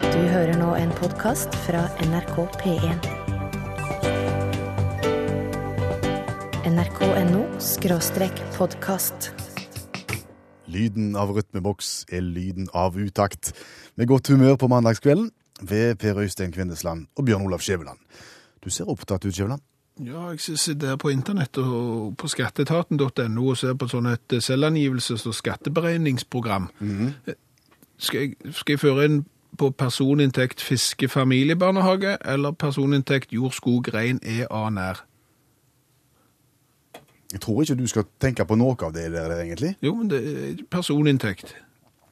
Du hører nå en podkast fra NRK P1. NRK.no skråstrek podkast. Lyden av rytmeboks er lyden av utakt. Med godt humør på mandagskvelden ved Per Øystein Kvindesland og Bjørn Olav Skjæveland. Du ser opptatt ut, Skjæveland. Ja, jeg sitter på internett og på skatteetaten.no og ser på sånn et selvangivelses- og skatteberegningsprogram. Mhm. Eh, Skal, jeg, skal jeg føre inn på personinntekt fiske familiebarnehage eller personinntekt jord, skog, rein, EA nær? Jeg tror ikke du skal tenke på noe av det der, egentlig. Jo, men det er personinntekt.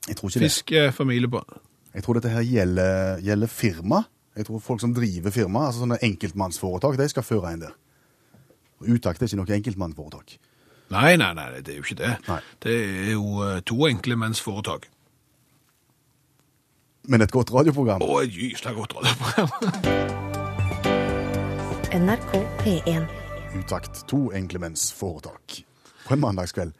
Jeg tror ikke det. Fiske, familiebarn... Jeg tror dette her gjelder, gjelder firma. Jeg tror folk som driver firma, altså sånne enkeltmannsforetak, de skal føre inn der. Og Utakt er ikke noe enkeltmannsforetak. Nei, nei, nei, det er jo ikke det. Nei. Det er jo eh, to enkle menns foretak. Men et godt radioprogram. Å, et gysla godt radioprogram. NRK P1. Utakt. To enklemennsforetak. På en mandagskveld.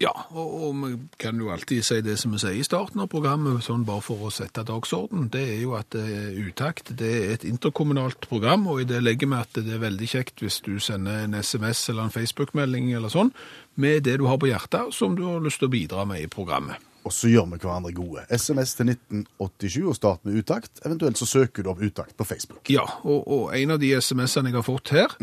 Ja, og, og vi kan jo alltid si det som vi sier i starten av programmet, sånn bare for å sette dagsorden, det er jo at eh, Utakt det er et interkommunalt program, og i det legger vi at det er veldig kjekt hvis du sender en SMS eller en Facebook-melding eller sånn, med det du har på hjertet som du har lyst til å bidra med i programmet. Og så gjør vi hverandre gode. SMS til 1987 og start med utakt. Eventuelt så søker du om utakt på Facebook. Ja, og, og en av de SMS-ene jeg har fått her,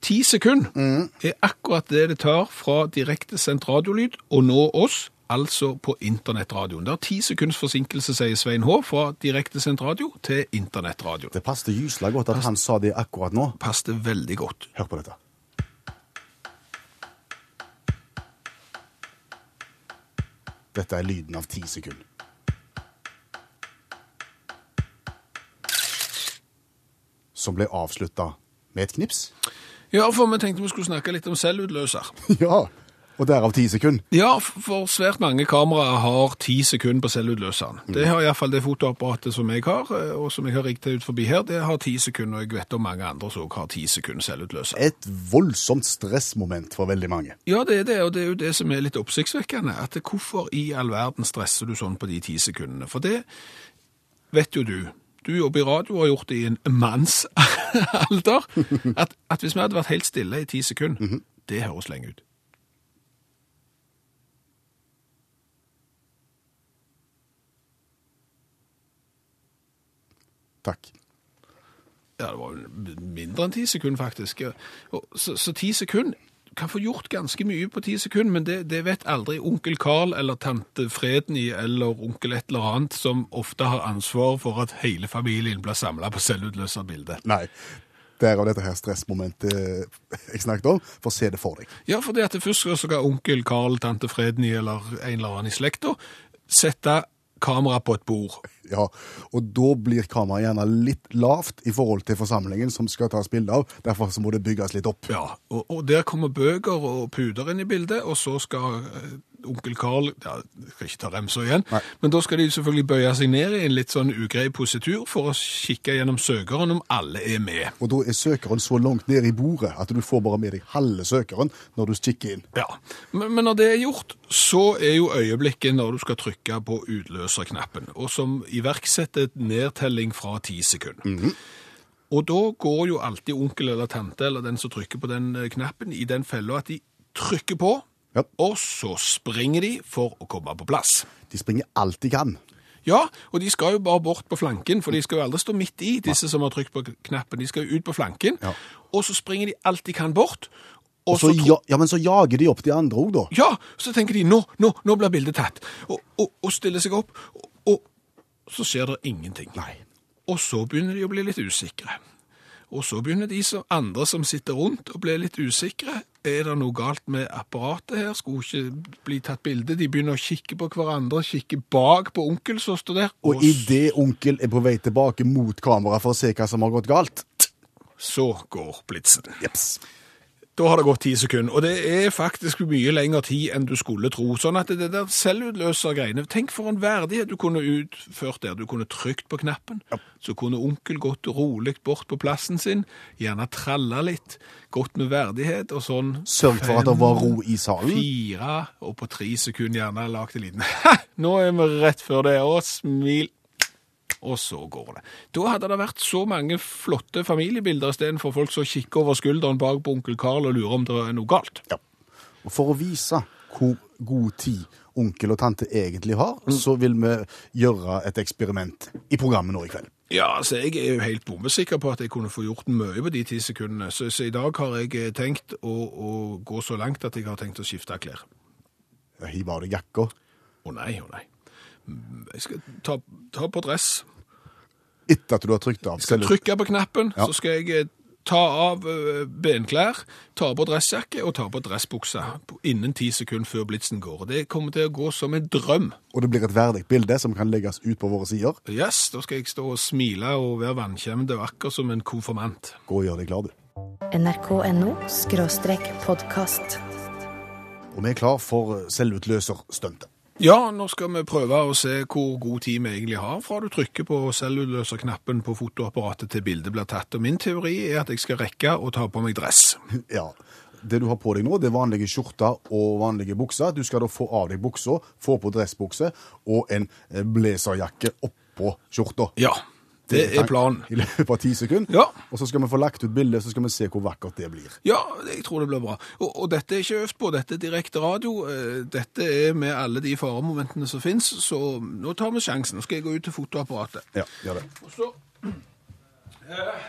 ti sekund, er akkurat det det tar fra direkte sendt radiolyd og nå oss, altså på internettradioen. Det er ti sekunds forsinkelse, sier Svein H, fra direkte sendt radio til internettradio. Det passet gysla godt at han sa det akkurat nå. Passte veldig godt. Hør på dette. Dette er lyden av ti sekunder. Som ble avslutta med et knips. Ja, for vi tenkte vi skulle snakke litt om selvutløser. Ja! Og derav ti sekunder. Ja, for svært mange kameraer har ti sekunder på selvutløseren. Det har iallfall det fotoapparatet som jeg har, eh, og som jeg har rigget ut forbi her, det har ti sekunder, og jeg vet om mange andre som også har ti sekunder selvutløser. Et voldsomt stressmoment for veldig mange. Ja, det er det, og det er jo det som er litt oppsiktsvekkende. At hvorfor i all verden stresser du sånn på de ti sekundene? For det vet jo du. Du jobber i radio og har gjort det i en mannsalder. At, at hvis vi hadde vært helt stille i ti sekunder, det høres lenge ut. Takk. Ja, det var jo mindre enn ti sekunder, faktisk. Og, så, så ti sekunder kan få gjort ganske mye på ti sekunder, men det, det vet aldri onkel Karl eller tante Fredny eller onkel et eller annet, som ofte har ansvar for at hele familien blir samla på selvutløserbildet. Nei. Derav dette her stressmomentet jeg snakket om. Få se det for deg. Ja, fordi at det først så kan onkel Karl, tante Fredny eller en eller annen i slekta sette kamera på et bord. Ja, Og da blir kameraet gjerne litt lavt i forhold til forsamlingen som skal tas bilde av. Derfor så må det bygges litt opp. Ja, og, og der kommer bøker og puder inn i bildet, og så skal eh, onkel Karl ja, Jeg skal ikke ta remsa igjen, Nei. men da skal de selvfølgelig bøye seg ned i en litt sånn ugrei positur for å kikke gjennom søkeren om alle er med. Og da er søkeren så langt ned i bordet at du får bare med deg halve søkeren når du kikker inn. Ja, men, men når det er gjort, så er jo øyeblikket når du skal trykke på utløserknappen, og som iverksetter nedtelling fra ti sekunder. Mhm. Og da går jo alltid onkel eller tante eller den som trykker på den eh, knappen i den fella at de trykker på, Ja. og så springer de for å komme på plass. De springer alt de kan. Ja, og de skal jo bare bort på flanken, for de skal jo aldri stå midt i, disse som har trykt på knappen. De skal jo ut på flanken, Ja. og så springer de alt de kan bort, Og så, tro- ja, ja, Men så jager de opp de andre òg, da. ja, så tenker de nå, nå, nå blir bildet tatt. Og, og, og stiller seg opp, og, og så skjer det ingenting. Nei. Og så begynner de å bli litt usikre. Og så begynner de som, andre som sitter rundt og blir litt usikre. Er det noe galt med apparatet her? Skulle ikke bli tatt bilde? De begynner å kikke på hverandre, kikke bak på onkel som står der. Og idet onkel er på vei tilbake mot kameraet for å se hva som har gått galt så går blitsen. Jeps. Da har det gått ti sekunder, og det er faktisk mye lengre tid enn du skulle tro. Sånn at det der selvutløser greiene Tenk for en verdighet du kunne utført der. Du kunne trykt på knappen, så kunne onkel gått rolig bort på plassen sin, gjerne tralla litt, gått med verdighet og sånn. Sørg for at det var ro i salen. Fire, og på tre sekunder gjerne lagt en liten Nå er vi rett før det, og smil. og så går det. Da hadde det vært så mange flotte familiebilder istedenfor folk som kikker over skulderen bak på onkel Karl og lurer om det er noe galt. Ja. Og for å vise hvor god tid onkel og tante egentlig har, så vil vi gjøre et eksperiment i programmet nå i kveld. Ja, altså jeg er jo helt bombesikker på at jeg kunne få gjort mye på de ti sekundene, så, så i dag har jeg eh, tenkt å, å gå så langt at jeg har tenkt å skifte klær. Ja, Hiv av deg jakka. Å nei, å nei. Mm, Jeg skal ta, ta på dress, Etter at du har trykt av. skal selve- trykke på knappen, Ja. så skal jeg eh, ta av eh, benklær, ta på dressjakke og ta på dressbuksa på- innen ti sekunder før blitsen går. Det kommer til å gå som en drøm. Og det blir et verdig bilde som kan legges ut på våre sider. Yes, da skal jeg stå og smile og være vannkjemd og akkurat som en konfirmant. Gå og gjør deg klar, du. NRK.no skråstrek podkast. Og vi er klar for selvutløserstuntet. Ja, nå skal vi prøve å se hvor god tid vi egentlig har fra du trykker på selvutløserknappen på fotoapparatet til bildet blir tatt. Og min teori er at jeg skal rekke å ta på meg dress. Ja. Det du har på deg nå, det er vanlige skjorter og vanlige bukser. Du skal da få av deg buksa, få på dressbukse og en eh, blazerjakke oppå skjorta. Ja, det er planen. I løpet av ti sekunder. Ja. Og så skal vi få lagt ut bildet, så skal vi se hvor vakkert det blir. Ja, jeg tror det blir bra. Og, og dette er ikke øvd på, dette er direkte radio. Eh, Dette er med alle de faremomentene som finnes, så nå tar vi sjansen. Nå skal jeg gå ut til fotoapparatet. Ja, gjør det. Og så eh,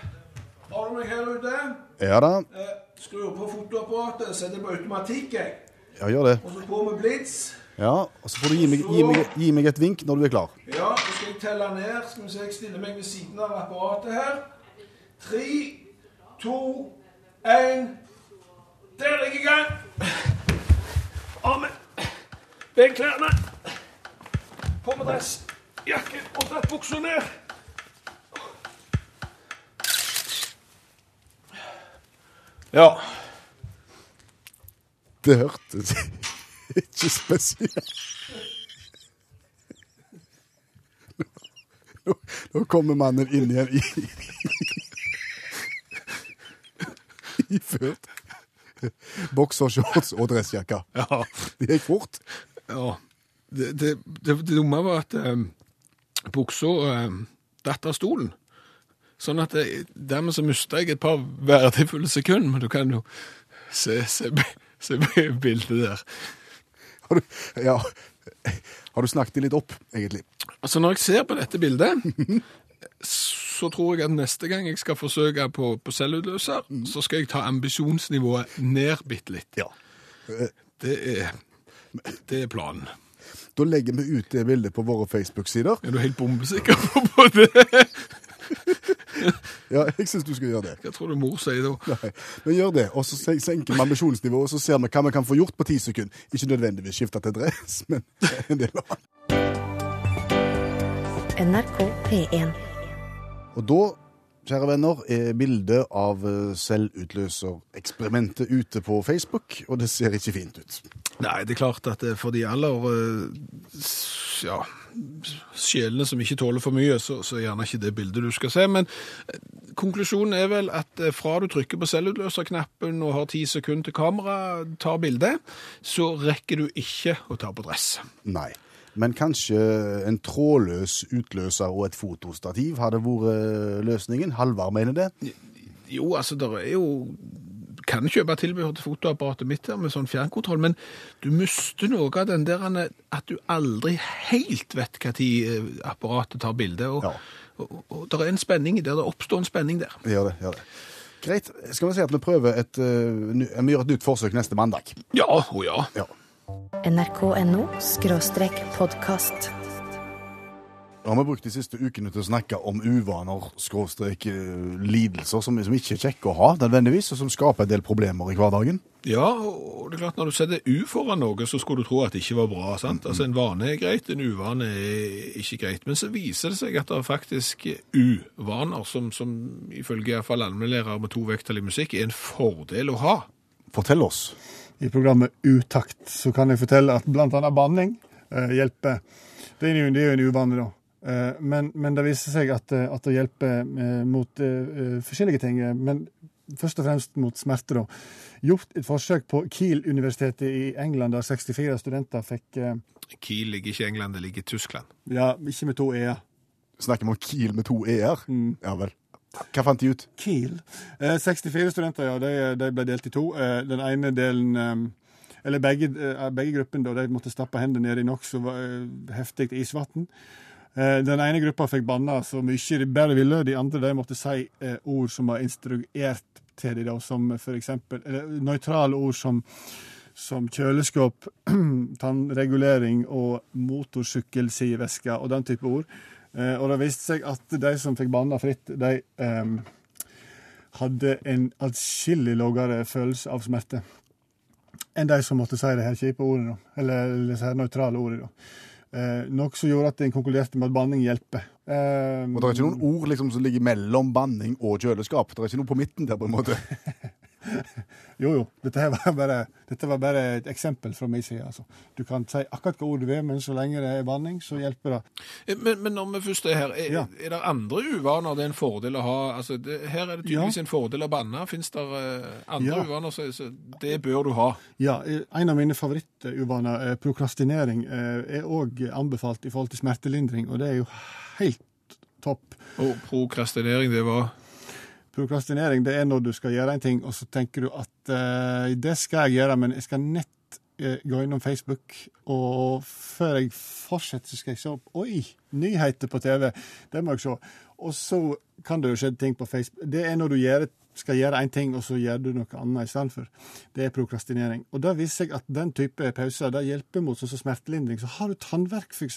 Har du meg her ute? Ja da. Eh, skrur på fotoapparatet, setter på automatikk, jeg. Ja, gjør det. Og så på med blits. Ja, og så får du gi meg, gi, meg, gi meg et vink når du er klar. Ja, nå skal jeg telle ned. Skal vi se, jeg stiller meg ved siden av apparatet her. Tre, to, én. Der er jeg i gang! Av med benklærne. På med dress, jakke og dratt buksa ned. Ja. Det hørtes ikke spesielt Nå, nå kommer mannen inn igjen i Iført boksershorts og dressjakke. ja. Det gikk fort. Ja. Det, det, det, det dumme var at eh, buksa eh, datt av stolen. Sånn at eh, dermed så mista jeg et par verdifulle sekunder, men du kan jo se, se, bi- se bi- bildet der. Har du, ja, har du snakket det litt opp, egentlig? Altså, når jeg ser på dette bildet, så tror jeg at neste gang jeg skal forsøke på, på selvutløser, så skal jeg ta ambisjonsnivået ned bitte litt. Ja. Det er, det er planen. Da legger vi ut det bildet på våre Facebook-sider. Er du helt bombesikker på det? Ja, jeg syns du skal gjøre det. Hva tror du mor sier da? Nei, men gjør det, og så sen- senker vi ambisjonsnivået, og så ser vi hva vi kan få gjort på ti sekunder. Ikke nødvendigvis skifte til dress, men en del av det. NRK P1. Og da, kjære venner, er bildet av eh, selvutløsereksperimentet ute på Facebook, og det ser ikke fint ut. Nei, det er klart at eh, for de aller eh, s- ja, sjelene som ikke tåler for mye, så, så er gjerne ikke det bildet du skal se. Men eh, konklusjonen er vel at eh, fra du trykker på selvutløserknappen og har ti sekunder til kamera tar bildet, så rekker du ikke å ta på dress. Nei. Men kanskje en trådløs utløser og et fotostativ hadde vært eh, løsningen? Halvard mener det. Jo, altså, der er jo kan kjøpe tilbehør til fotoapparatet mitt her med sånn fjernkontroll, men du mister noe av den der Anne, at du aldri helt vet hva tid eh, apparatet tar bilde. Og, Ja. og, og, og der er en spenning der, det oppstår en spenning der. Det Gjør det, gjør det. Greit, skal vi si at vi prøver et, eh, ny- vi gjør et nytt forsøk neste mandag? Ja, å ja. Ja. NRK.no skråstrek podkast. Nå har vi brukt de siste ukene til å snakke om uvaner, skråstrek, eh, lidelser som, som ikke er kjekke å ha nødvendigvis, og som skaper en del problemer i hverdagen. Ja, og det er klart når du setter U foran noe, så skulle du tro at det ikke var bra, sant? Altså en vane er greit, en uvane er ikke greit, men så viser det seg at det er faktisk uvaner som, som ifølge i hvert fall allmennlærere med to vekttall i musikk er en fordel å ha. Fortell oss. i programmet Utakt, så kan jeg fortelle at bl.a. banning eh, hjelper. Det er jo, det er jo en uvane, da. Eh, men, men det viser seg at, eh, at det hjelper eh, mot eh, eh, forskjellige ting. eh, Men først og fremst mot smerte, da. Gjort et forsøk på Kiel-universitetet i England, der 64 studenter fikk eh, Kiel ligger ikke i England, det ligger i Tyskland. Ja, ikke med to e-er. Snakker vi om Kiel med to e-er? Ja vel. Hva fant de ut? Kiel. Eh, 64 studenter, ja. De, de ble delt i to. Eh, den ene delen eh, Eller begge, eh, begge gruppene, da. De måtte stappe hendene ned i nokså eh, heftig isvann. Eh, den ene gruppa fikk banna så mye de bare ville. De andre de måtte si eh, ord som var instruert til de da, som for eksempel Eller nøytrale ord som som kjøleskap, tannregulering og motorsykkelsidevæske og den type ord. Eh, og det viste seg at de som fikk banna fritt, de ehm, hadde en atskillig lavere følelse av smerte enn de som måtte si de her kjipe ordene, da. eller, eller disse her nøytrale ordene. Da. Eh, nok som gjorde at en konkluderte med at banning hjelper. Eh, Og Det er ikke noen ord liksom, som ligger mellom banning og kjøleskap. Det er ikke noe på midten der, på en måte. Jo, jo. Dette, her var bare, dette var bare et eksempel fra min side. Altså. Du kan si akkurat hva ord du vil, men så lenge det er banning, så hjelper det. Eh, Men, men når vi først er her, er, Ja. er det andre uvaner det er en fordel å ha? Altså, det, her er det tydeligvis en fordel å banne. Fins det eh, andre Ja. uvaner, så, så det bør du ha. Ja, eh, En av mine favorittuvaner, eh, prokrastinering, eh, er òg anbefalt i forhold til smertelindring, og det er jo helt topp. Og prokrastinering, det var Prokrastinering det er når du skal gjøre en ting, og så tenker du at eh, det skal jeg gjøre, men jeg skal nett eh, gå innom Facebook, og før jeg fortsetter, så skal jeg se opp Oi, nyheter på TV! Det må jeg se. Og så kan det jo skje ting på Facebook. Det er når du gjør, skal gjøre én ting, og så gjør du noe annet istedenfor. Det er prokrastinering. Og det viser seg at den type pauser det hjelper mot sånn som smertelindring. Så har du tannverk, f.eks.,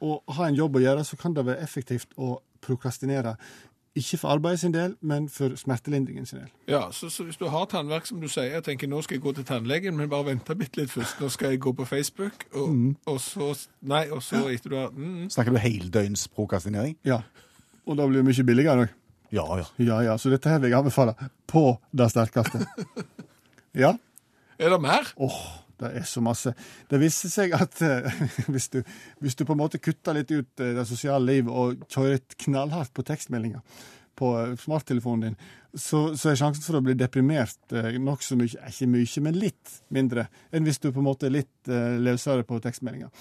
og har en jobb å gjøre, så kan det være effektivt å prokrastinere. Ikke for arbeidet sin del, men for smertelindringen sin del. Ja, så, så hvis du har tannverk, som du sier, og tenker nå skal jeg gå til tannlegen, men bare vente bitte litt først, nå skal jeg gå på Facebook, og, Mm. og så Nei, og så etter du har mm, Snakker du heldøgnsprokastinering? Ja. Og da blir det mye billigere òg. Ja, ja. Ja, ja, så dette her vil jeg anbefale på det sterkeste. Ja. Er det mer? Åh, det er så masse. Det viser seg at eh, hvis, du, hvis du på en måte kutter litt ut eh, det sosiale livet og kjører et knallhardt på tekstmeldinger på eh, smarttelefonen din, så, så er sjansen for å bli deprimert eh, nokså mye, ikke mye, men litt mindre enn hvis du på en måte er litt eh, løsere på tekstmeldinger.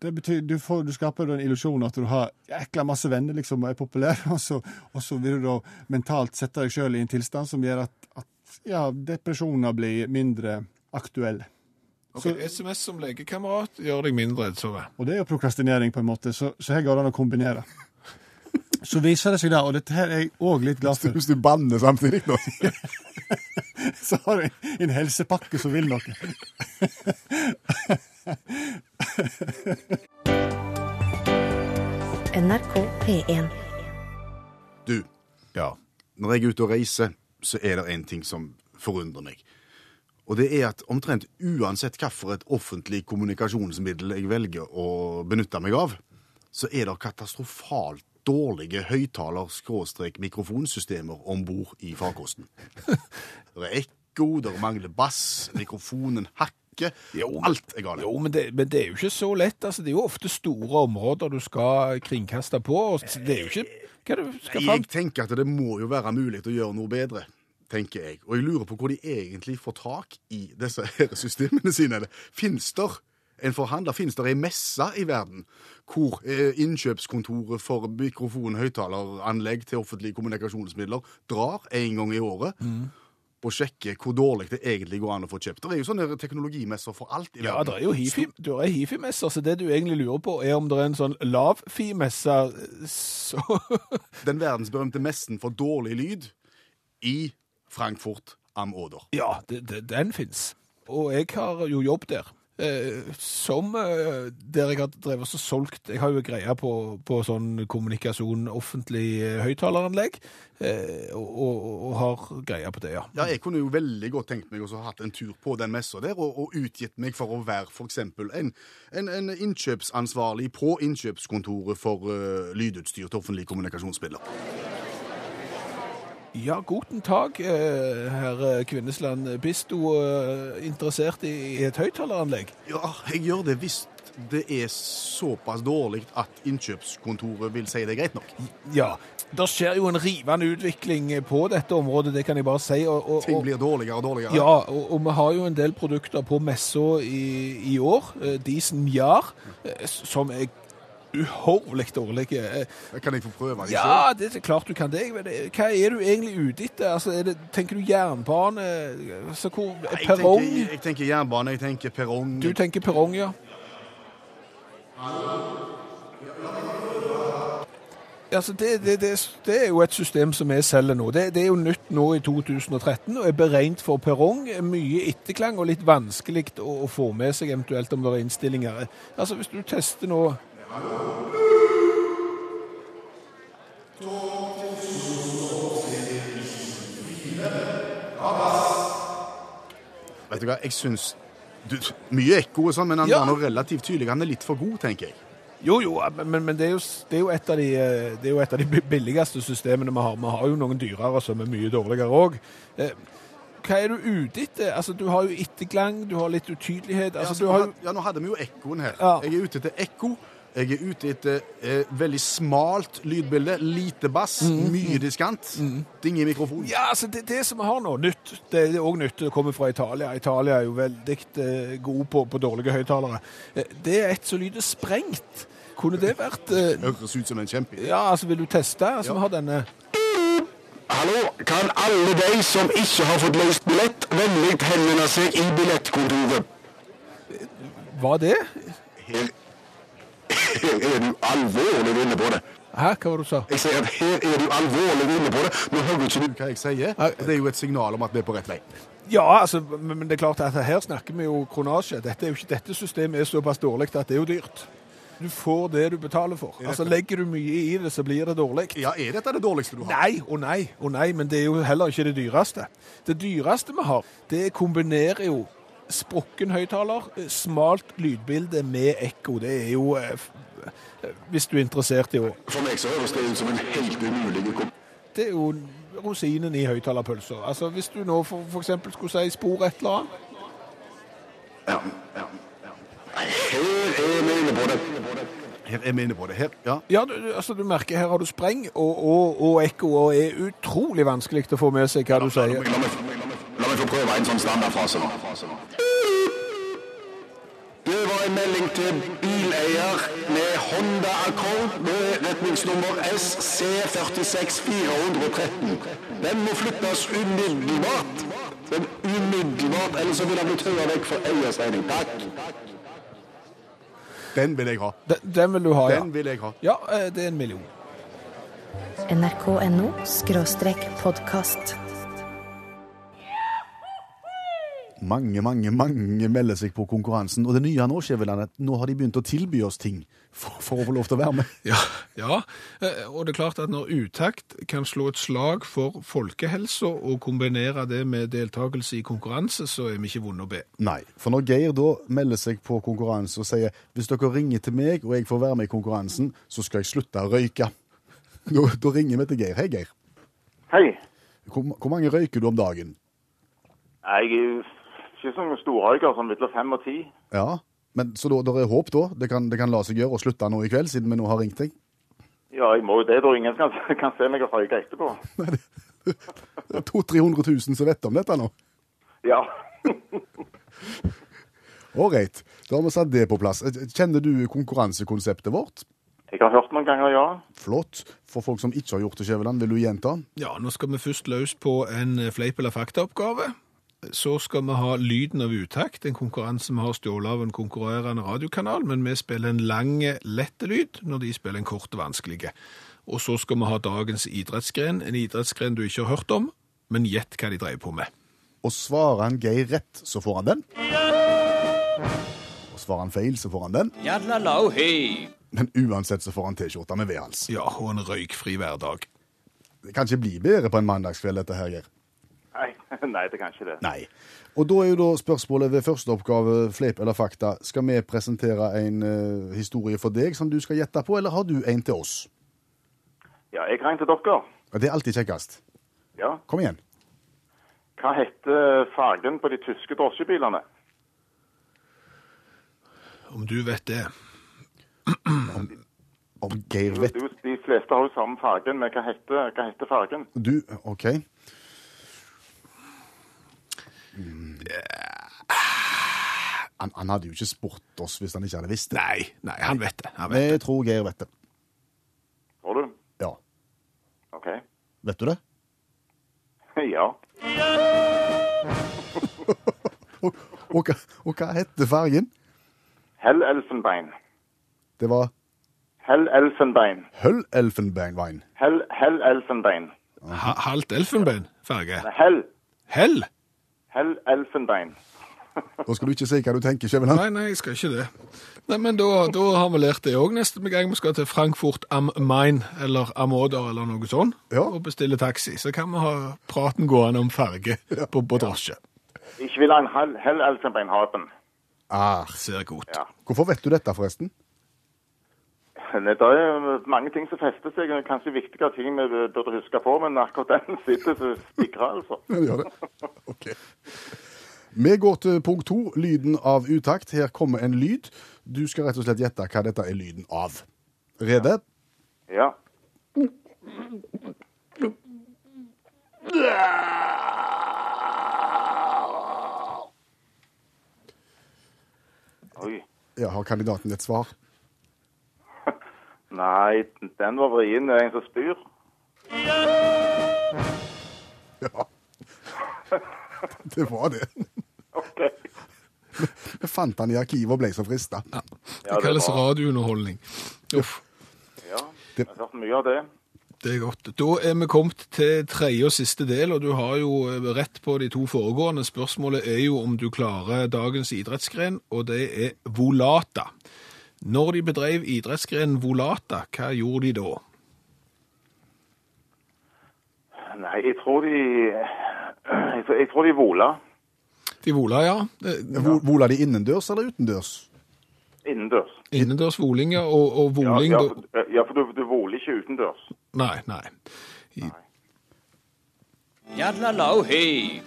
Det betyr, du, får, du skaper da en illusjon at du har jækla masse venner liksom, og er populær, og så, og så vil du da mentalt sette deg sjøl i en tilstand som gjør at, at ja, depresjoner blir mindre aktuelle. Ok, SMS som legekamerat gjør deg mindre redsomme. Og det er jo prokrastinering, på en måte, så, så her går det an å kombinere. Så viser det seg da, og dette her er jeg òg litt glad for, Hvis du banner samtidig, da. så har du en helsepakke som vil noe. NRK P1. Du, Ja. når jeg er ute og reiser, så er det en ting som forundrer meg. Og det er at omtrent uansett hvilket offentlig kommunikasjonsmiddel jeg velger å benytte meg av, så er det katastrofalt dårlige høyttaler-mikrofonsystemer om bord i farkosten. Det er ekko, det mangler bass, mikrofonen hakker, Jo, alt er galt. Jo, men det, men det er jo ikke så lett. Altså, det er jo ofte store områder du skal kringkaste på. Og så det er jo ikke Hva er det du skal fram Jeg tenker at det må jo være mulig å gjøre noe bedre, tenker jeg. Og jeg lurer på hvor de egentlig får tak i disse her systemene sine. Fins der en forhandler? Fins der ei messe i verden hvor eh, innkjøpskontoret for mikrofon-høyttaleranlegg til offentlige kommunikasjonsmidler drar en gang i året? Og sjekker hvor dårlig det egentlig går an å få kjøpt. Det er jo sånne teknologimesser for alt i Ja, verden. det er jo hifi, du er hifi-messer, så det du egentlig lurer på, er om det er en sånn lav-fi-messe eh, så Den verdensberømte messen for dårlig lyd i Frankfurt am Oder. Ja, det, det, den fins. Og jeg har jo jobb der. Eh, som eh, der jeg har drevet og solgt Jeg har jo greie på, på sånn kommunikasjon, offentlig eh, høyttaleranlegg, eh, og, og, og har greie på det, ja. Ja, jeg kunne jo veldig godt tenkt meg også å ha hatt en tur på den messa der, og, og utgitt meg for å være f.eks. En, en, en innkjøpsansvarlig på innkjøpskontoret for eh, lydutstyr til offentlige kommunikasjonsmidler. Ja, guten tag, eh, herr Kvinnesland. Bist du eh, interessert i i et høyttaleranlegg? Ja, jeg gjør det hvis det er såpass dårlig at innkjøpskontoret vil si det er greit nok. Ja. Det skjer jo en rivende utvikling på dette området, det kan jeg bare si. Og, og, Ting og, blir dårligere og dårligere. ja, og, og vi har jo en del produkter på messa i, i år, eh, Disen Jar, eh, som er uhorvelig dårlige. Eh, Kan jeg få prøve det selv? Ja, det er klart du kan det. men det- Hva er du egentlig ute etter? Altså, er det, tenker du jernbane? Altså, hvor, Jeg perrong? Tenker, jeg tenker jernbane, jeg tenker perrong. Du tenker perrong, ja. Altså, det, det, det, det er jo et system som vi selger nå. Det, det er jo nytt nå i 2013 og er beregnet for perrong. Mye etterklang og litt vanskelig å, å få med seg eventuelt om det er innstillinger. Altså, hvis du tester nå Vet du hva, jeg syns du, Mye ekko og sånn, men han Ja. var nå relativt tydelig. Han er litt for god, tenker jeg. Jo, jo, men, men det, er jo, det, er jo et av de, eh, det er jo et av de billigste systemene vi har. Vi har jo noen dyrere som er mye dårligere òg. Hva er du ute etter? Altså, du har jo etterklang, du har litt utydelighet. Ja, Altså, altså, du nå har jo... had- ja, nå hadde vi jo ekkoen her. Ja. Jeg er ute etter ekko. Jeg er ute etter eh, veldig smalt lydbilde, lite bass, mye diskant. Ding i mikrofonen. Ja, altså det, det som vi har nå, nytt, det er òg nytt, det kommer fra Italia. Italia er jo veldig eh, god på, på dårlige høyttalere. Eh, Det er et som lyder sprengt. Kunne det vært eh, Høres ut som en kjempe. Ja, altså vil du teste? Altså, vi har denne Hallo, kan alle de som ikke har fått løst billett, vennlig henvende seg i billettkontoret? Var det? Her, her er du alvorlig inne på det. Hæ, hva var det du sa? Jeg sier at her er du alvorlig inne på det. Nå hører ikke du Hva jeg sier, Nei. og det er jo et signal om at vi er på rett vei. Ja, altså, men men det er klart at her snakker vi jo kronasje. Dette, er jo ikke, dette systemet er såpass dårlig at det er jo dyrt. Du får det du betaler for. Altså, Legger du mye i det, så blir det dårlig. Ja, er dette det dårligste du har? Nei og nei og nei, men det er jo heller ikke det dyreste. Det dyreste vi har, det kombinerer jo sprukken høyttaler, eh, smalt lydbilde med ekko. Det er jo eh, f- eh, Hvis du er interessert i å For meg så høres det ut som en helt umulig kom... Det er jo rosinen i høyttalerpølsa. Altså, hvis du nå for, for eksempel skulle si spor et eller annet Ja, ja, ja. Her er vi inne på det. Her er vi inne på det. Her, ja. Ja, du, du- altså, du merker her har du spreng og, og, og ekko, og er utrolig vanskelig til å få med seg hva du La sier. meg, la meg, la meg få prøve en sånn standardfase nå. Det var en melding til bileier med Honda Accord med retningsnummer SC46413. Den må flyttes umiddelbart. Den umiddelbart, ellers så vil den bli tøya vekk for eiers regning. Takk. Den vil jeg ha. Den, den vil du ha, ja. Den vil jeg ha. Ja, eh, det er en million. NRK.no skråstrek podkast. Mange, mange, mange melder seg på konkurransen. Og det nye nå, Skjæveland, er at nå har de begynt å tilby oss ting for, for å få lov til å være med. Ja, ja, eh, og det er klart at når utakt kan slå et slag for folkehelsa og kombinere det med deltakelse i konkurranse, så er vi ikke vonde å be. Nei, for når Geir da melder seg på konkurranse og sier hvis dere ringer til meg og jeg får være med i konkurransen, så skal jeg slutte å røyke. Da, da ringer vi til Geir. Hei, Geir. Hei. Hvor, hvor mange røyker du om dagen? Jeg er jo ikke sånn storrøyker som midler fem og ti. Ja, men Så da, der er håp, da? Det kan, det kan la seg gjøre å slutte nå i kveld, siden vi nå har ringt deg? Ja, jeg må jo det, da ingen kan, kan se meg og røyke etterpå. Nei, det, det er 200 000-300 000 som vet om dette nå. Ja. Ålreit, da har vi satt det på plass. Eh, Kjenner du konkurransekonseptet vårt? Jeg har hørt noen ganger, ja. Flott. For folk som ikke har gjort det, Skjæveland, vil du gjenta? Ja, nå skal vi først løs på en fleip- eller faktaoppgave. Så skal vi ha Lyden av utakt, en konkurranse vi har stjålet av en konkurrerende radiokanal, men vi spiller en lang, lett lyd når de spiller en kort, vanskelig. Og så skal vi ha dagens idrettsgren, en idrettsgren du ikke har hørt om, men gjett hva de dreier på med. Og svarer han Geir rett, så får han den. Og svarer han feil, så får han den. Men uansett så får han T-skjorta med V-hals. Ja, og en røykfri hverdag. Det kan ikke bli bedre på en mandagskveld, dette her, Geir. Nei, nei det kan ikke det. Nei. Og da er jo da spørsmålet ved første oppgave, fleip eller fakta, skal vi presentere en eh, historie for deg som du skal gjette på, eller har du en til oss? Ja, jeg ringer til dere. Ja, Det er alltid kjekkest. Ja. Kom igjen. Hva heter fargen på de tyske drosjebilene? Om du vet det. Om Geir Jo, vet det er jo- De fleste har jo samme fargen, men hva heter, hva heter fargen? Du, OK. Mm. Han, han hadde jo ikke spurt oss hvis han ikke hadde visst det. Nei, nei, han vet det. Han vet. Vi tror Geir vet det. Tror du? Ja. OK. Vet du det? Ja. Og, og, hva- og hva heter fargen? Hell Elfenbein. Det var Hell Elfenbein. Høll Elfenbeinwein. Hell, hell Elfenbein. Ha, halvt elfenbeinfarge. Hell. Hell? Hell Elfenbein. Nå skal du ikke si hva du tenker, Skjæveland. Nei, nei, jeg skal ikke det. Nei, men da, da har vi lært det òg neste gang vi skal til Frankfurt am Main eller am Oder eller noe sånt Ja. og bestille taxi. Så kan vi ha praten gående om farge på, på drosje. Ich will ein Hell, hell Elfenbein haben. Ah, Ser godt. Ja. hvorfor vet du dette, forresten? Nei, eh, Det er mange ting som fester seg. og Kanskje viktige ting vi burde huske på, men akkurat den sitter så spikra, altså. Ja, det gjør det. Ok. Vi går til punkt to, lyden av utakt. Her kommer en lyd. Du skal rett og slett gjette hva dette er lyden av. Rede? Ja. Oi. Ja, har kandidaten et svar? Nei, den var vrien. Det er en som spyr. Ja. Det var det. OK. Vi fant han i arkivet og ble så frista. Ja, Det kalles var- radiounderholdning. Uff, Ja, jeg har hørt mye av det. det er godt. Da er vi kommet til tredje og siste del, og du har jo eh, rett på de to foregående. Spørsmålet er jo om du klarer dagens idrettsgren, og det er volata. Når de bedrev idrettsgrenen volata, hva gjorde de da? Nei, jeg tror de Jeg tror, jeg tror de vola De vola, ja. Eh, Vo- Vola de innendørs eller utendørs? innendørs. Innendørs voling, ja. Og, og Ja, voling ja, da- for- eh, ja, for du, du voler ikke utendørs. Nei, nei. Yadlalau hei.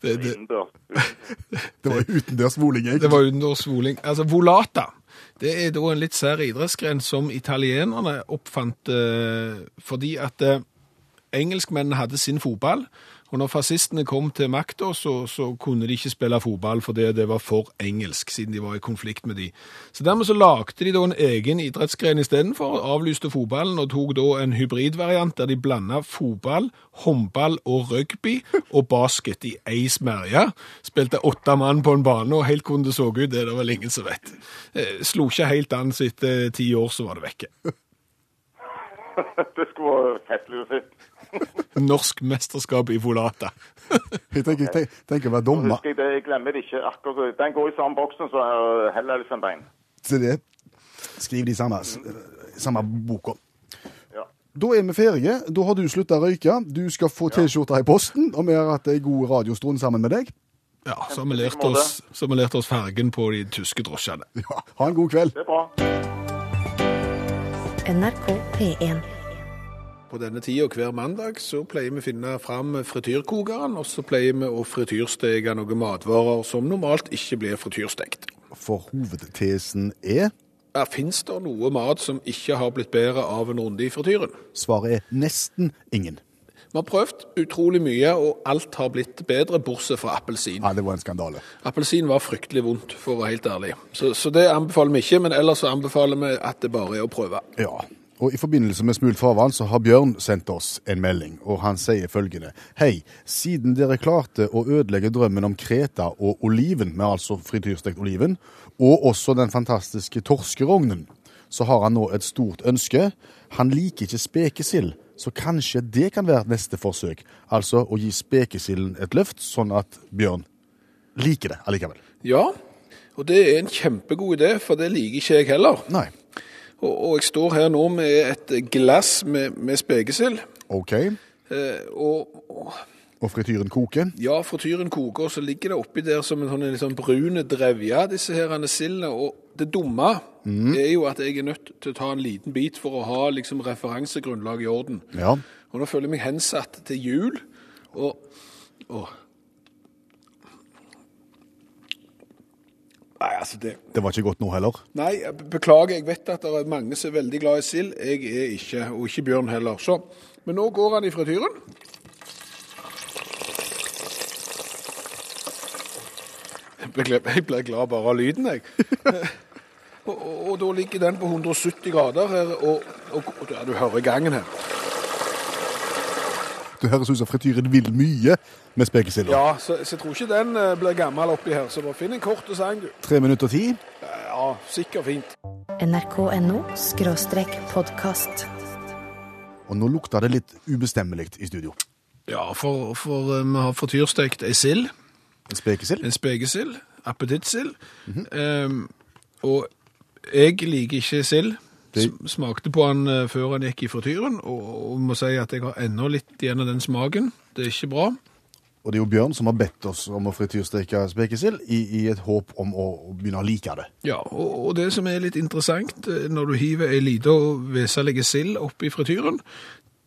Det, det, Innendørs. Det var utendørs voling, Det jeg. var utendørs voling. Altså, volata. Det er da en litt sær idrettsgren som italienerne oppfant eh, fordi at eh, engelskmennene hadde sin fotball, og når fascistene kom til makta, så, så kunne de ikke spille fotball fordi det var for engelsk, siden de var i konflikt med de. Så dermed så lagde de da en egen idrettsgren istedenfor, avlyste fotballen og tok da en hybridvariant der de blanda fotball, håndball og rugby og basket i ei smerje. Spilte åtte mann på en bane, og helt hvordan det så ut, det er det vel ingen som vet. Eh, Slo ikke helt an, så etter ti år så var det vekke. Det skulle vært festlig å se. Norsk mesterskap i volata. Jeg tenker, tenk- tenker å være dommer Husker jeg det, jeg glemmer det ikke. akkurat så- Den går i samme boksen som eh, Hell Elfenbein. til det. Skriv de samme, samme boka. Ja. Da er vi ferdige. Da har du slutta å røyke. Du skal få T-skjorta i posten, og vi har hatt ei god radiostund sammen med deg. Ja, så har vi lært oss, så har vi lært oss fargen på de tyske drosjene. Ja, ha en god kveld. Det er bra. NRK P1. På denne tida hver mandag så pleier vi å finne fram frityrkokeren, og så pleier vi å frityrsteke noen matvarer som normalt ikke blir frityrstekt. For hovedtesen er Ja, Fins det noe mat som ikke har blitt bedre av en runde i frityren? Svaret er nesten ingen. Vi har prøvd utrolig mye, og alt har blitt bedre, bortsett fra appelsin. Ja, det var en skandale. Appelsin var fryktelig vondt, for å være helt ærlig. Så, så det anbefaler vi ikke, men ellers så anbefaler vi at det bare er å prøve. Ja. Og i forbindelse med Smult farvann så har Bjørn sendt oss en melding, og han sier følgende. Hei, siden dere klarte å ødelegge drømmen om Kreta og oliven, med altså frityrstekt oliven, og også den fantastiske torskerognen, så har han nå et stort ønske. Han liker ikke spekesild, så kanskje det kan være neste forsøk. Altså å gi spekesilden et løft, sånn at Bjørn liker det allikevel. Ja, og det er en kjempegod idé, for det liker ikke jeg heller. Nei. Og, og jeg står her nå med et glass med, med spekesild. OK. Eh, og, og Og frityren koker. ja, frityren koker, og så ligger det oppi der som en sånn en litt sånn brune drevja, disse her sildene. Og det dumme er jo at jeg er nødt til å ta en liten bit for å ha liksom referansegrunnlaget i orden. Ja. Og nå føler jeg meg hensatt til jul, og Åh. Nei, altså det Det var ikke godt nå heller. Nei, jeg be- beklager. Jeg vet at det er mange som er veldig glad i sild. Jeg er ikke, og ikke Bjørn heller. Så. Men nå går han i frityren. blir- jeg blir glad bare av lyden, jeg. og, og, og da ligger den på 170 grader her, og, og, og ja, du hører gangen her. Det høres ut som frityren vil mye med spekesilda. Ja, så, så jeg tror ikke den eh, blir gammel oppi her, så bare finn en kort og sang, du. Tre minutter og ti. Ja, sikkert fint. nrk.no skråstrek podkast. Og nå lukter det litt ubestemmelig i studio. Ja, for, for eh, vi har frityrstekt ei sild, En spekesild? en spekesild, appetittsild. Ehm, og jeg liker ikke sild. Det- Sm- Smakte på den eh, før den gikk i frityren, og, og må si at jeg har ennå litt igjen av den smaken. Det er ikke bra. Og det er jo Bjørn som har bedt oss om å frityrsteke spekesild i, i et håp om å begynne å like det. Ja, og, og det som er litt interessant eh, når du hiver ei lita og veselig sild oppi frityren,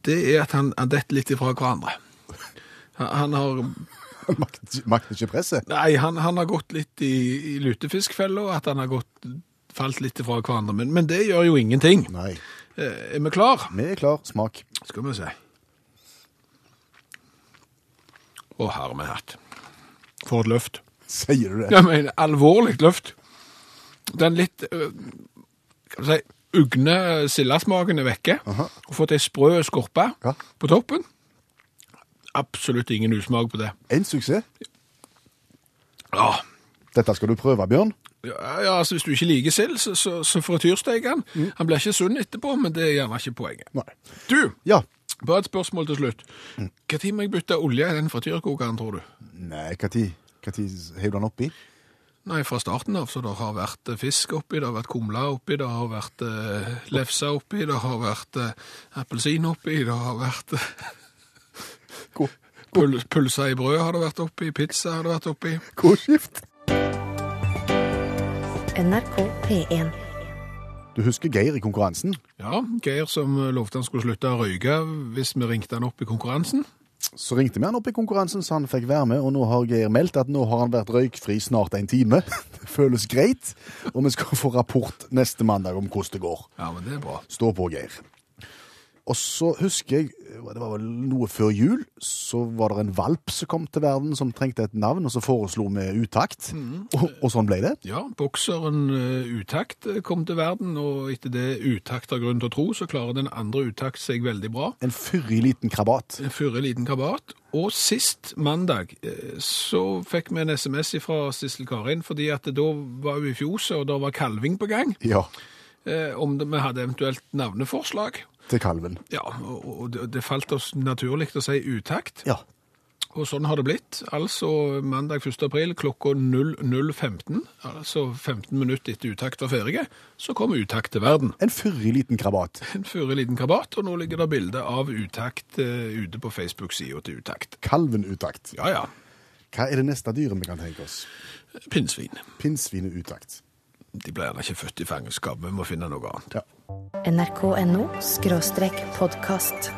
det er at han, han detter litt ifra hverandre. Han, han har Makt, makt ikke presset. Nei, han, han har gått litt i, i lutefiskfella, og at han har gått, falt litt ifra hverandre. Men, men det gjør jo ingenting. Nei. Eh, er vi klar? Vi er klar. Smak. Skal vi se. Og her har vi hatt. For et løft. Sier du det? Jeg mener, alvorlig løft. Den litt øh, Hva skal vi si ugne sildesmaken er vekke. Aha. Og fått ei sprø skorpe Ja. på toppen. Absolutt ingen usmak på det. En suksess. Ja. Dette skal du prøve, Bjørn. Ja, ja, altså Hvis du ikke liker sild, så, så, så frityrsteik han. Mm. Han blir ikke sunn etterpå, men det er gjerne ikke poenget. Nei. Du, Ja. bare et spørsmål til slutt. Når må jeg bytte olje i den frityrkokeren, tror du? Nei, hva tid? Hva tid heiv du den oppi? Nei, fra starten av, så det har vært eh, fisk oppi, det har vært kumle oppi, det har vært eh, lefse oppi, det har vært eh, appelsin oppi, det har vært eh, Hvor, pul pulser i brød har det vært oppi, pizza har det vært oppi. hvor skift? NRK P1. Du husker Geir i konkurransen? Ja, Geir som eh, lovte han skulle slutte å røyke hvis vi ringte han opp i konkurransen. Så ringte vi han opp i konkurransen, så han fikk være med, og nå har Geir meldt at nå har han vært røykfri snart en time. Det føles greit, og vi skal få rapport neste mandag om hvordan det går. Ja, men det er bra. Stå på, Geir. Og så husker jeg, det var vel noe før jul, så var det en valp som kom til verden som trengte et navn, og så foreslo vi utakt, og, og sånn ble det. Ja, bokseren eh, Utakt eh, kom til verden, og etter det Utakt har grunn til å tro, så klarer den andre Utakt seg veldig bra. En fyrig liten krabat. En Fyrre liten krabat. Og sist mandag eh, så fikk vi en SMS fra Sissel Karin, fordi at da var hun i fjoset, og da var kalving på gang. Ja, eh, Om det- vi hadde eventuelt navneforslag. til kalven. Ja, og og det det falt oss naturlig å si Utakt. Ja, Og sånn har det blitt. Altså mandag 1. april klokka 00.15, altså 15 minutter etter Utakt var ferdig, så kom Utakt til verden. en fyrig liten krabat. En fyrre liten krabat, og nå ligger det bilde av Utakt eh, ute på Facebook-sida til Utakt. Kalven-utakt. Ja, ja. Hva er det neste dyret vi kan tenke oss? Pinnsvin. Pinnsvine-utakt. De ble gjerne ikke født i fangenskap, vi må finne noe annet. Ja. nrk.no skråstrek podkast.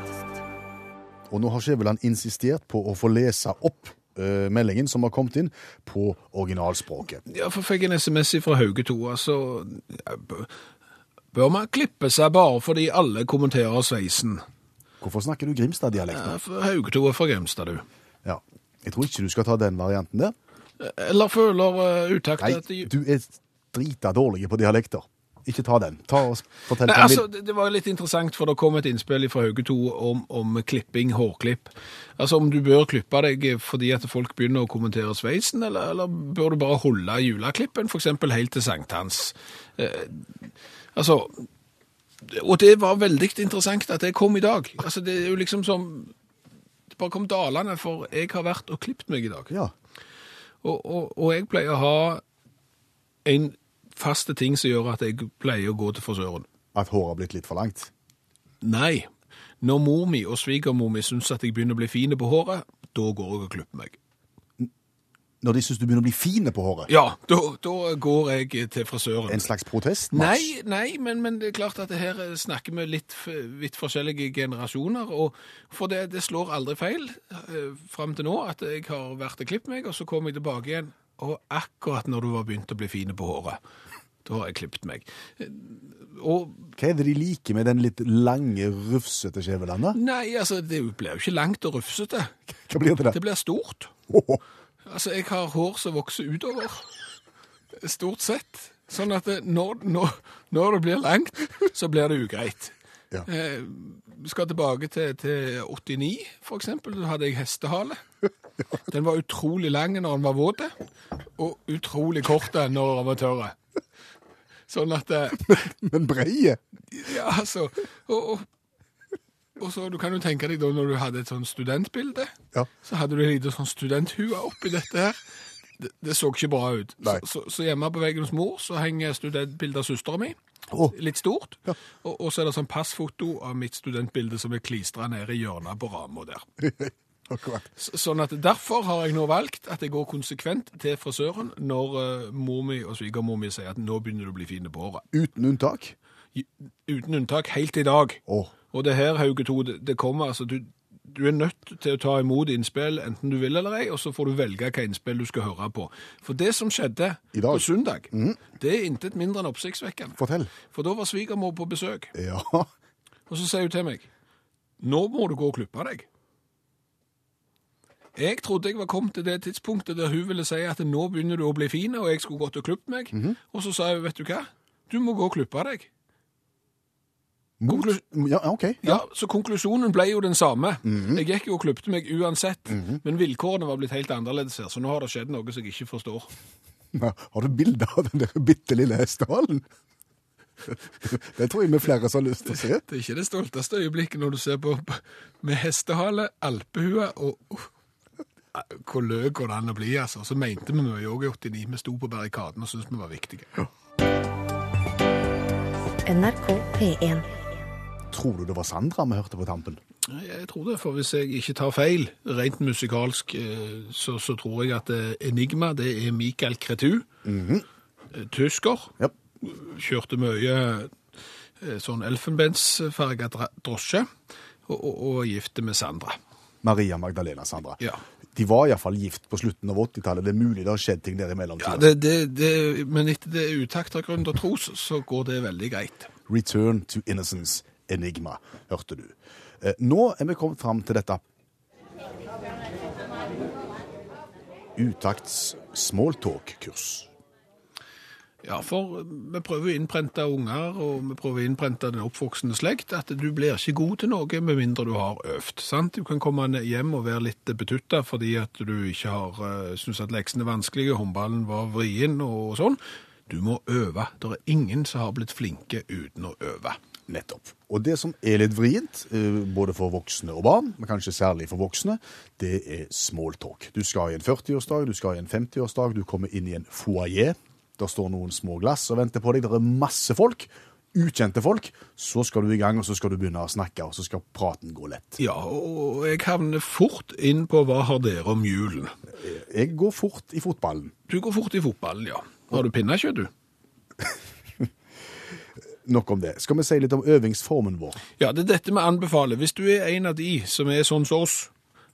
Og nå har Skjæveland insistert på å få lese opp eh, meldingen som har kommet inn på originalspråket. Ja, for fikk en SMS fra Hauge 2, altså ja, b- Bør man klippe seg bare fordi alle kommenterer sveisen? Hvorfor snakker du Grimstad-dialekt? Ja, for Hauge 2 er fra Grimstad, du. Ja. Jeg tror ikke du skal ta den varianten der. Eller føler eh, Utakt Nei, at de... du er drita dårlig på dialekter. Ikke ta den. Ta og s- fortell Nei, hva altså, altså... det, det var litt interessant, for det kom et innspill fra Hauge 2 om, om klipping, hårklipp. Altså, om du bør klippe deg fordi at folk begynner å kommentere sveisen, eller, eller bør du bare holde juleklippen, for eksempel helt til sankthans? Eh, altså, og det var veldig interessant at det kom i dag. Altså, det er jo liksom som, det bare kom dalene, for jeg har vært og klippet meg i dag. Ja. Og, og, og jeg pleier å ha en faste ting som gjør at jeg pleier å gå til forsøren. At håret har blitt litt for langt. Nei. Når mor mi og svigermor mi syns at jeg begynner å bli fine på håret, da går jeg og klipper meg. Når de syns du begynner å bli fine på håret. Ja, da, da går jeg til frisøren. En slags protestmarsj. Nei, nei men, men det er klart at det her snakker vi litt, f- vidt forskjellige generasjoner. Og for det, det slår aldri feil eh, fram til nå at jeg har vært og klippet meg, og så kom jeg tilbake igjen. Og akkurat når du var begynt å bli fine på håret, da har jeg klippet meg. Eh, Og Hva er det de liker med den litt lange, rufsete Skjæveland? da? nei, altså, det blir jo ikke langt og rufsete. Hva blir det? Det blir stort. Åh, Altså, jeg har hår som vokser utover. Stort sett. Sånn at det- når, når, når det blir langt, så blir det ugreit. Ja. Eh, vi skal tilbake til, til 89, for eksempel. Da hadde jeg hestehale. Den var utrolig lang når den var våt, og utrolig kort når den var tørre. Sånn at eh, Men breie? Ja, altså. Og, og, og så, du kan jo tenke deg da, når du hadde et sånn studentbilde, Ja. så hadde du en liten sånn studenthue oppi dette her. Det, det så ikke bra ut. Så, Nei. så, så hjemme på veggen hos mor så henger studentbildet av søstera mi. Å. Litt stort. Og, og så er det sånn passfoto av mitt studentbilde som er klistra ned i hjørnet på ramma der. Akkurat. Så- Sånn at Derfor har jeg nå valgt at jeg går konsekvent til frisøren når eh, mor mi og svigermor mi sier at nå begynner du å bli fin på håret. Uten unntak? I- Uten unntak helt i dag. Å. Og det her, Hauge 2, det, det kommer altså du, du er nødt til å ta imot innspill enten du vil eller ei, og så får du velge hva innspill du skal høre på. For det som skjedde I dag? Mhm. på søndag, det er intet mindre enn oppsiktsvekkende. Fortell. For da var svigermor på besøk, Ja. og så sier hun til meg Nå må du gå og klippe deg. Jeg trodde jeg var kommet til det tidspunktet der hun ville si at nå begynner du å bli fin, og jeg skulle gått og klippet meg. Mhm. Og så sa hun, vet du hva, du må gå og klippe deg. Mot Ja, OK. Ja, så konklusjonen ble jo den samme. Jeg gikk jo og klipte meg uansett, men vilkårene var blitt helt annerledes her, så nå har det skjedd noe som jeg ikke forstår. Ja, Har du bilde av den der bitte lille hestehalen? Det tror jeg vi flere som har lyst til å se. Det er ikke det stolteste øyeblikket når du ser på med hestehale, alpehue og uff, hvor løk går det an å bli, altså. Så mente vi mye òg i 89. Vi sto på barrikaden og syntes vi var viktige. NRK P1. Tror du det var Sandra vi hørte på tampen? Jeg tror det, for hvis jeg ikke tar feil, rent musikalsk, eh, så, så tror jeg at eh, Enigma, det er Michael Kretu, eh, tysker. Ja. kjørte mye eh, sånn elfenbensfarget dra- drosje, og, og, og gifte med Sandra. Maria Magdalena Sandra. Ja. De var iallfall gift på slutten av 80-tallet. Det er mulig det har skjedd ting der i mellomtida. det, det, det, men etter det er utakt av grunn til å tro, så- så går det veldig greit. Return to Innocence Enigma, hørte du. Eh, Nå er vi kommet fram til dette. Utakts smalltalk-kurs. Ja, for vi prøver å innprente unger, og vi prøver å innprente den oppvoksende slekt, at du blir ikke god til noe med mindre du har øvd. sant? Du kan komme ned hjem og være litt betutta fordi at du ikke har eh, syntes at leksene er vanskelige, håndballen var vrien og sånn. Du må øve. Det er ingen som har blitt flinke uten å øve. Nettopp. Og det som er litt vrient, eh, både for voksne og barn, men kanskje særlig for voksne, det er smalltalk. Du skal i en 40-årsdag, du skal i en 50-årsdag, du kommer inn i en foyer. Der står noen små glass og venter på deg. Der er masse folk. Ukjente folk. Så skal du i gang, og så skal du begynne å snakke, og så skal praten gå lett. Ja, og jeg havner fort inn på hva har dere om julen? Jeg går fort i fotballen. Du går fort i fotballen, ja. Har du pinnekjøtt, du? Nok om det. Skal vi si litt om øvingsformen vår? Ja, det er dette vi anbefaler. Hvis du er en av de som er sånn som oss,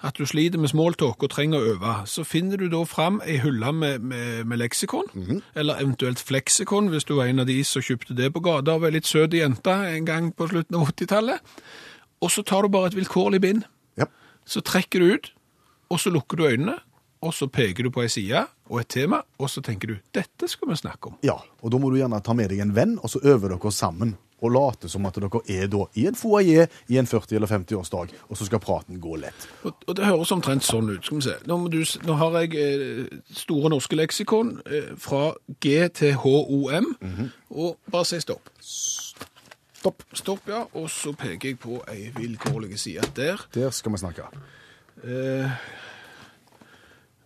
at du sliter med smalltalk og trenger å øve, så finner du da fram ei hylle med, med, med leksikon, eller eventuelt fleksikon, hvis du var en av de som kjøpte det på gata og var litt søt jente en gang på slutten av 80-tallet. Og så tar du bare et vilkårlig bind. Ja. Så trekker du ut, og så lukker du øynene, og så peker du på ei side og et tema, og så tenker du dette skal vi snakke om. ja. Og da må du gjerne ta med deg en venn, og så øver dere sammen. Og late som at dere er da i en foajé i en 40- eller 50-årsdag, og så skal praten gå lett. Og, og det høres omtrent sånn ut. Skal vi se. Nå, må du, s- nå har jeg eh, Store norske leksikon eh, fra G til HOM, og bare si stopp. Stopp. Stopp, ja. Og så peker jeg på ei vilkårlig side der. Der skal vi snakke. Eh,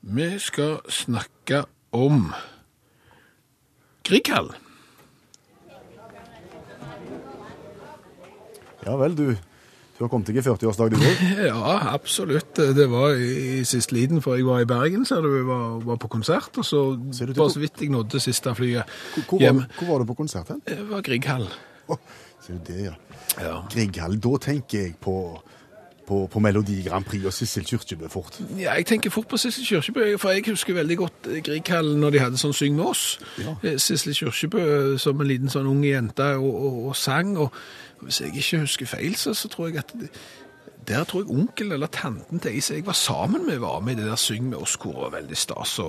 vi skal snakke om Grieghallen. Ja vel, du. Du har kommet deg i 40-årsdag, du òg. Ja, absolutt. Det var i, i siste liten, for jeg var i Bergen, så du, jeg var, var på konsert, og så Ser du til bare hvor- så vidt jeg nådde siste flyet Hvor, var- hjem. hvor var du på konsert hen? Det Eh, var Grieghall. Å, ser du det, ja. Ja. Grieghall. Da tenker jeg på, på, på Melodi Grand Prix og Sissel Kyrkjebø fort. ja, jeg tenker fort på Sissel Kyrkjebø, for jeg husker veldig godt Grieghallen når de hadde sånn Syng med oss. Ja. Eh, Sissel Kyrkjebø eh, som en liten sånn ung jente og, og, og sang, og hvis jeg ikke husker feil, så, så tror jeg at det, Der tror jeg onkel eller tanten til ei som jeg var sammen med, var med i det der Syng med oss, hvor det var veldig stas å,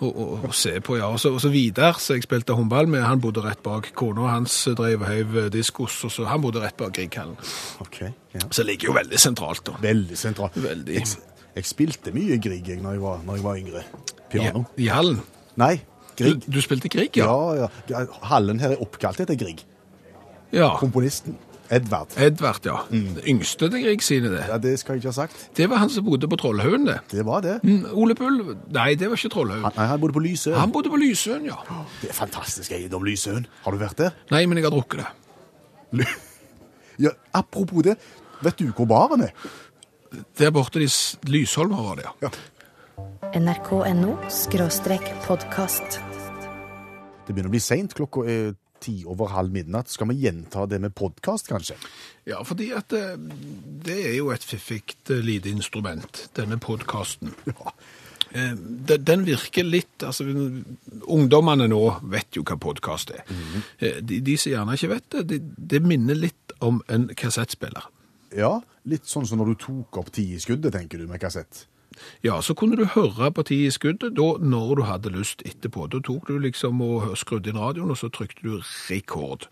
å, å, å se på. ja. Og så, og så Vidar, som jeg spilte håndball med, han bodde rett bak kona hans, eh, drev og heiv diskos, og så han bodde rett bak Grieghallen. Ok, ja. Så det ligger jo veldig sentralt, da. Veldig sentralt. Veldig. Jeg, jeg spilte mye Grieg jeg, når, jeg var, når jeg var yngre. Piano. I, i hallen. Nei, Du, Grieg. du spilte Grieg, Ja, ja? ja. eh, Hallen her er oppkalt etter Grieg. Ja. Komponisten Edvard. Edvard, ja. Det yngste til Grieg sine, det. Mm. Ja, Det skal jeg ikke ha sagt. Det var han som bodde på Trollhaugen, det. Det var det. Mm, Ole Bull Nei, det var ikke Trollhaugen. Han, nei, han bodde på Lysøen. Han bodde på Lysøen, ja. Det er fantastisk eiendom, Lysøen. Har du vært der? Nei, men jeg har drukket det. Ly- Ja, apropos det, vet du hvor baren er? Der borte de s- Lysholmer var det, ja. NRK.no skråstrek podkast. Det begynner å bli seint. Klokka er ti over halv midnatt. Skal vi gjenta det med podkast, kanskje? Ja, fordi at eh, det er jo et fiffig eh, lite instrument, denne podkasten. Eh, de- Den virker litt altså, Ungdommene nå vet jo hva podkast er. Mhm. Eh, De, de som gjerne ikke vet det, det, det minner litt om en kassettspiller. Ja, litt sånn som når du tok opp ti i skuddet, tenker du, med kassett. Ja, så kunne du høre partiet i skuddet da når du hadde lyst etterpå. Da tok du liksom og skrudde inn radioen, og så trykte du rekord.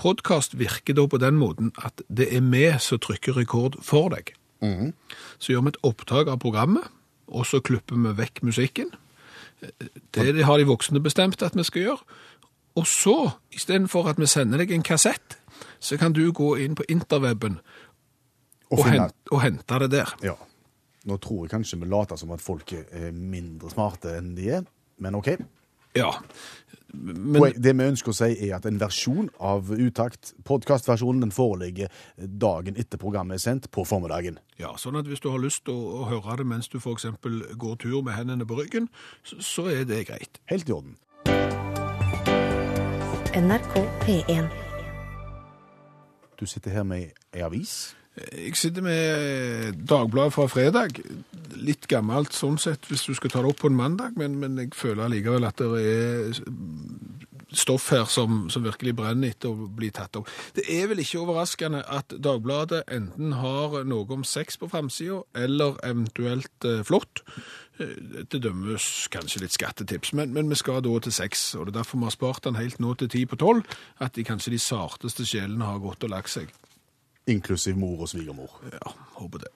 Podkast virker da på den måten at det er vi som trykker rekord for deg. Mhm. Så gjør vi et opptak av programmet, og så klipper vi vekk musikken. Det har de voksne bestemt at vi skal gjøre. Og så, istedenfor at vi sender deg en kassett, så kan du gå inn på interweben og, finne- hente, og hente det der. Ja. Nå tror jeg kanskje vi later som at folk er mindre smarte enn de er, men OK. Ja. Men, Poeng- det vi ønsker å si, er at en versjon av Utakt, podkastversjonen, den foreligger dagen etter programmet er sendt, på formiddagen. Ja, sånn at hvis du har lyst til å, å høre det mens du f.eks. går tur med hendene på ryggen, så, så er det greit. Helt i orden. NRK P1. Du sitter her med ei avis. Jeg sitter med Dagbladet fra fredag. Litt gammelt sånn sett hvis du skal ta det opp på en mandag, men, men jeg føler allikevel at det er stoff her som, som virkelig brenner etter å bli tatt opp. Det er vel ikke overraskende at Dagbladet enten har noe om sex på framsida, eller eventuelt eh, flott. Eh, Det dømmes kanskje litt skattetips, men, men vi skal da til sex. Og det er derfor vi har spart den helt nå til ti på tolv, at de kanskje de sarteste sjelene har gått og lagt seg. Inklusiv mor og svigermor. Ja, håper det.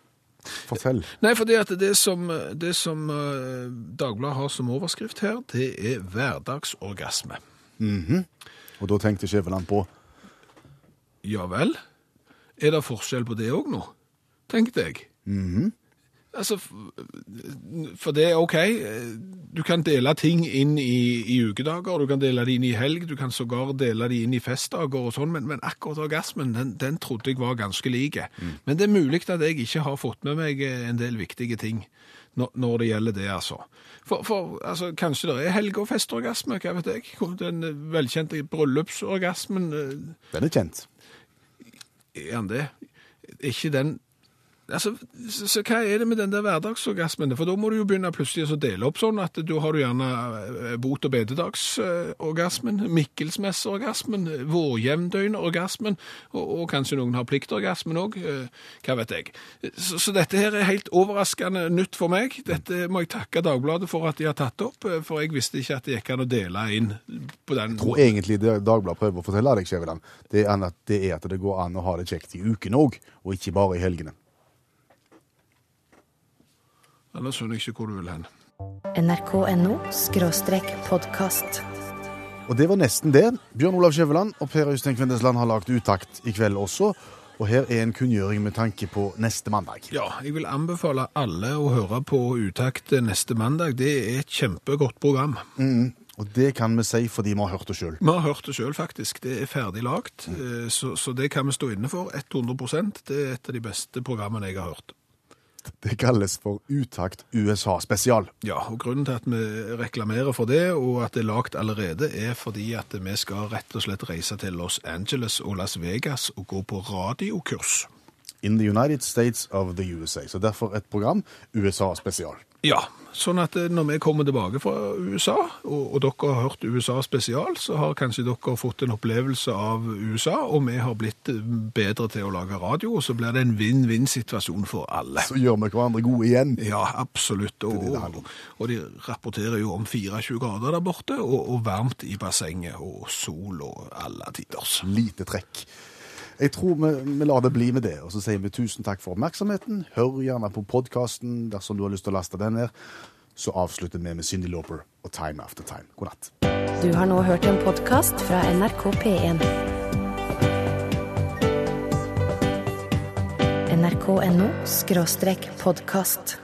Fortell. Nei, for det, at det som, det som eh, Dagbladet har som overskrift her, det er hverdagsorgasme. Og da tenkte Skjæveland på Ja vel? Er det forskjell på det òg nå? Tenkte jeg. Altså, f- for det er OK. Du kan dele ting inn i, i ukedager, du kan dele det inn i helg, du kan sågar dele det inn i festdager og sånn, men, men akkurat orgasmen, den, den trodde jeg var ganske lik. Men det er mulig at jeg ikke har fått med meg en del viktige ting når, når det gjelder det, altså. For, for altså, kanskje det er helge- og festorgasme, hva vet jeg. Den velkjente bryllupsorgasmen. eh, Den er kjent. er han det? Er Ikke den Altså, så, så hva er det med den der hverdagsorgasmen? For da må du jo begynne plutselig å dele opp sånn at da har du gjerne eh, bot- og bededagsorgasmen, Mikkelsmesseorgasmen, vårjevndøgnorgasmen, og, og kanskje noen har pliktorgasmen òg, hva vet jeg. Så, så dette her er helt overraskende nytt for meg. Dette må jeg takke Dagbladet for at de har tatt opp, eh, for jeg visste ikke at det gikk an å dele inn på den tror egentlig det Dagbladet prøver å fortelle deg, Skjæveland, det, er an- at det er at det går an å ha det kjekt i ukene òg, og ikke bare i helgene. Ellers skjønner jeg ikke hvor du vil hen. NRK.no skråstrek podkast. Og det var nesten det. Bjørn Olav Skjæveland og Per Øystein Kvindesland har lagd Utakt i kveld også. Og her er en kunngjøring med tanke på neste mandag. Ja, jeg vil anbefale alle å høre på Utakt neste mandag. Det er et kjempegodt program. Og det kan vi si fordi vi har hørt det sjøl. Vi har hørt det sjøl, faktisk. Det er ferdig lagt, eh, så, så det kan vi stå inne for. 100 Det er et av de beste programmene jeg har hørt. Det kalles for Utakt USA spesial. Ja, og Grunnen til at vi reklamerer for det, og at det er lagt allerede, er fordi at vi skal rett og slett reise til Los Angeles og Las Vegas og gå på radiokurs. In the United States of the USA. Så derfor et program USA spesial. Ja, sånn at eh, når vi kommer tilbake fra USA, og, og dere har hørt USA spesial, så har kanskje dere fått en opplevelse av USA, og vi har blitt eh, bedre til å lage radio, og så blir det en vinn-vinn-situasjon for alle. Så gjør vi hverandre gode igjen. Ja, absolutt. Og, og, og de rapporterer jo om 24 grader der borte, og, og varmt i bassenget, og sol og alle tiders. Lite trekk. Jeg tror vi, vi lar det bli med det, og så sier vi tusen takk for oppmerksomheten. Hør gjerne på podkasten dersom du har lyst til å laste den ned. Så avslutter vi med Cindy Lauper og Time After Time. God natt. Du har nå hørt en podkast fra NRK P1. NRK.no skråstrek podkast.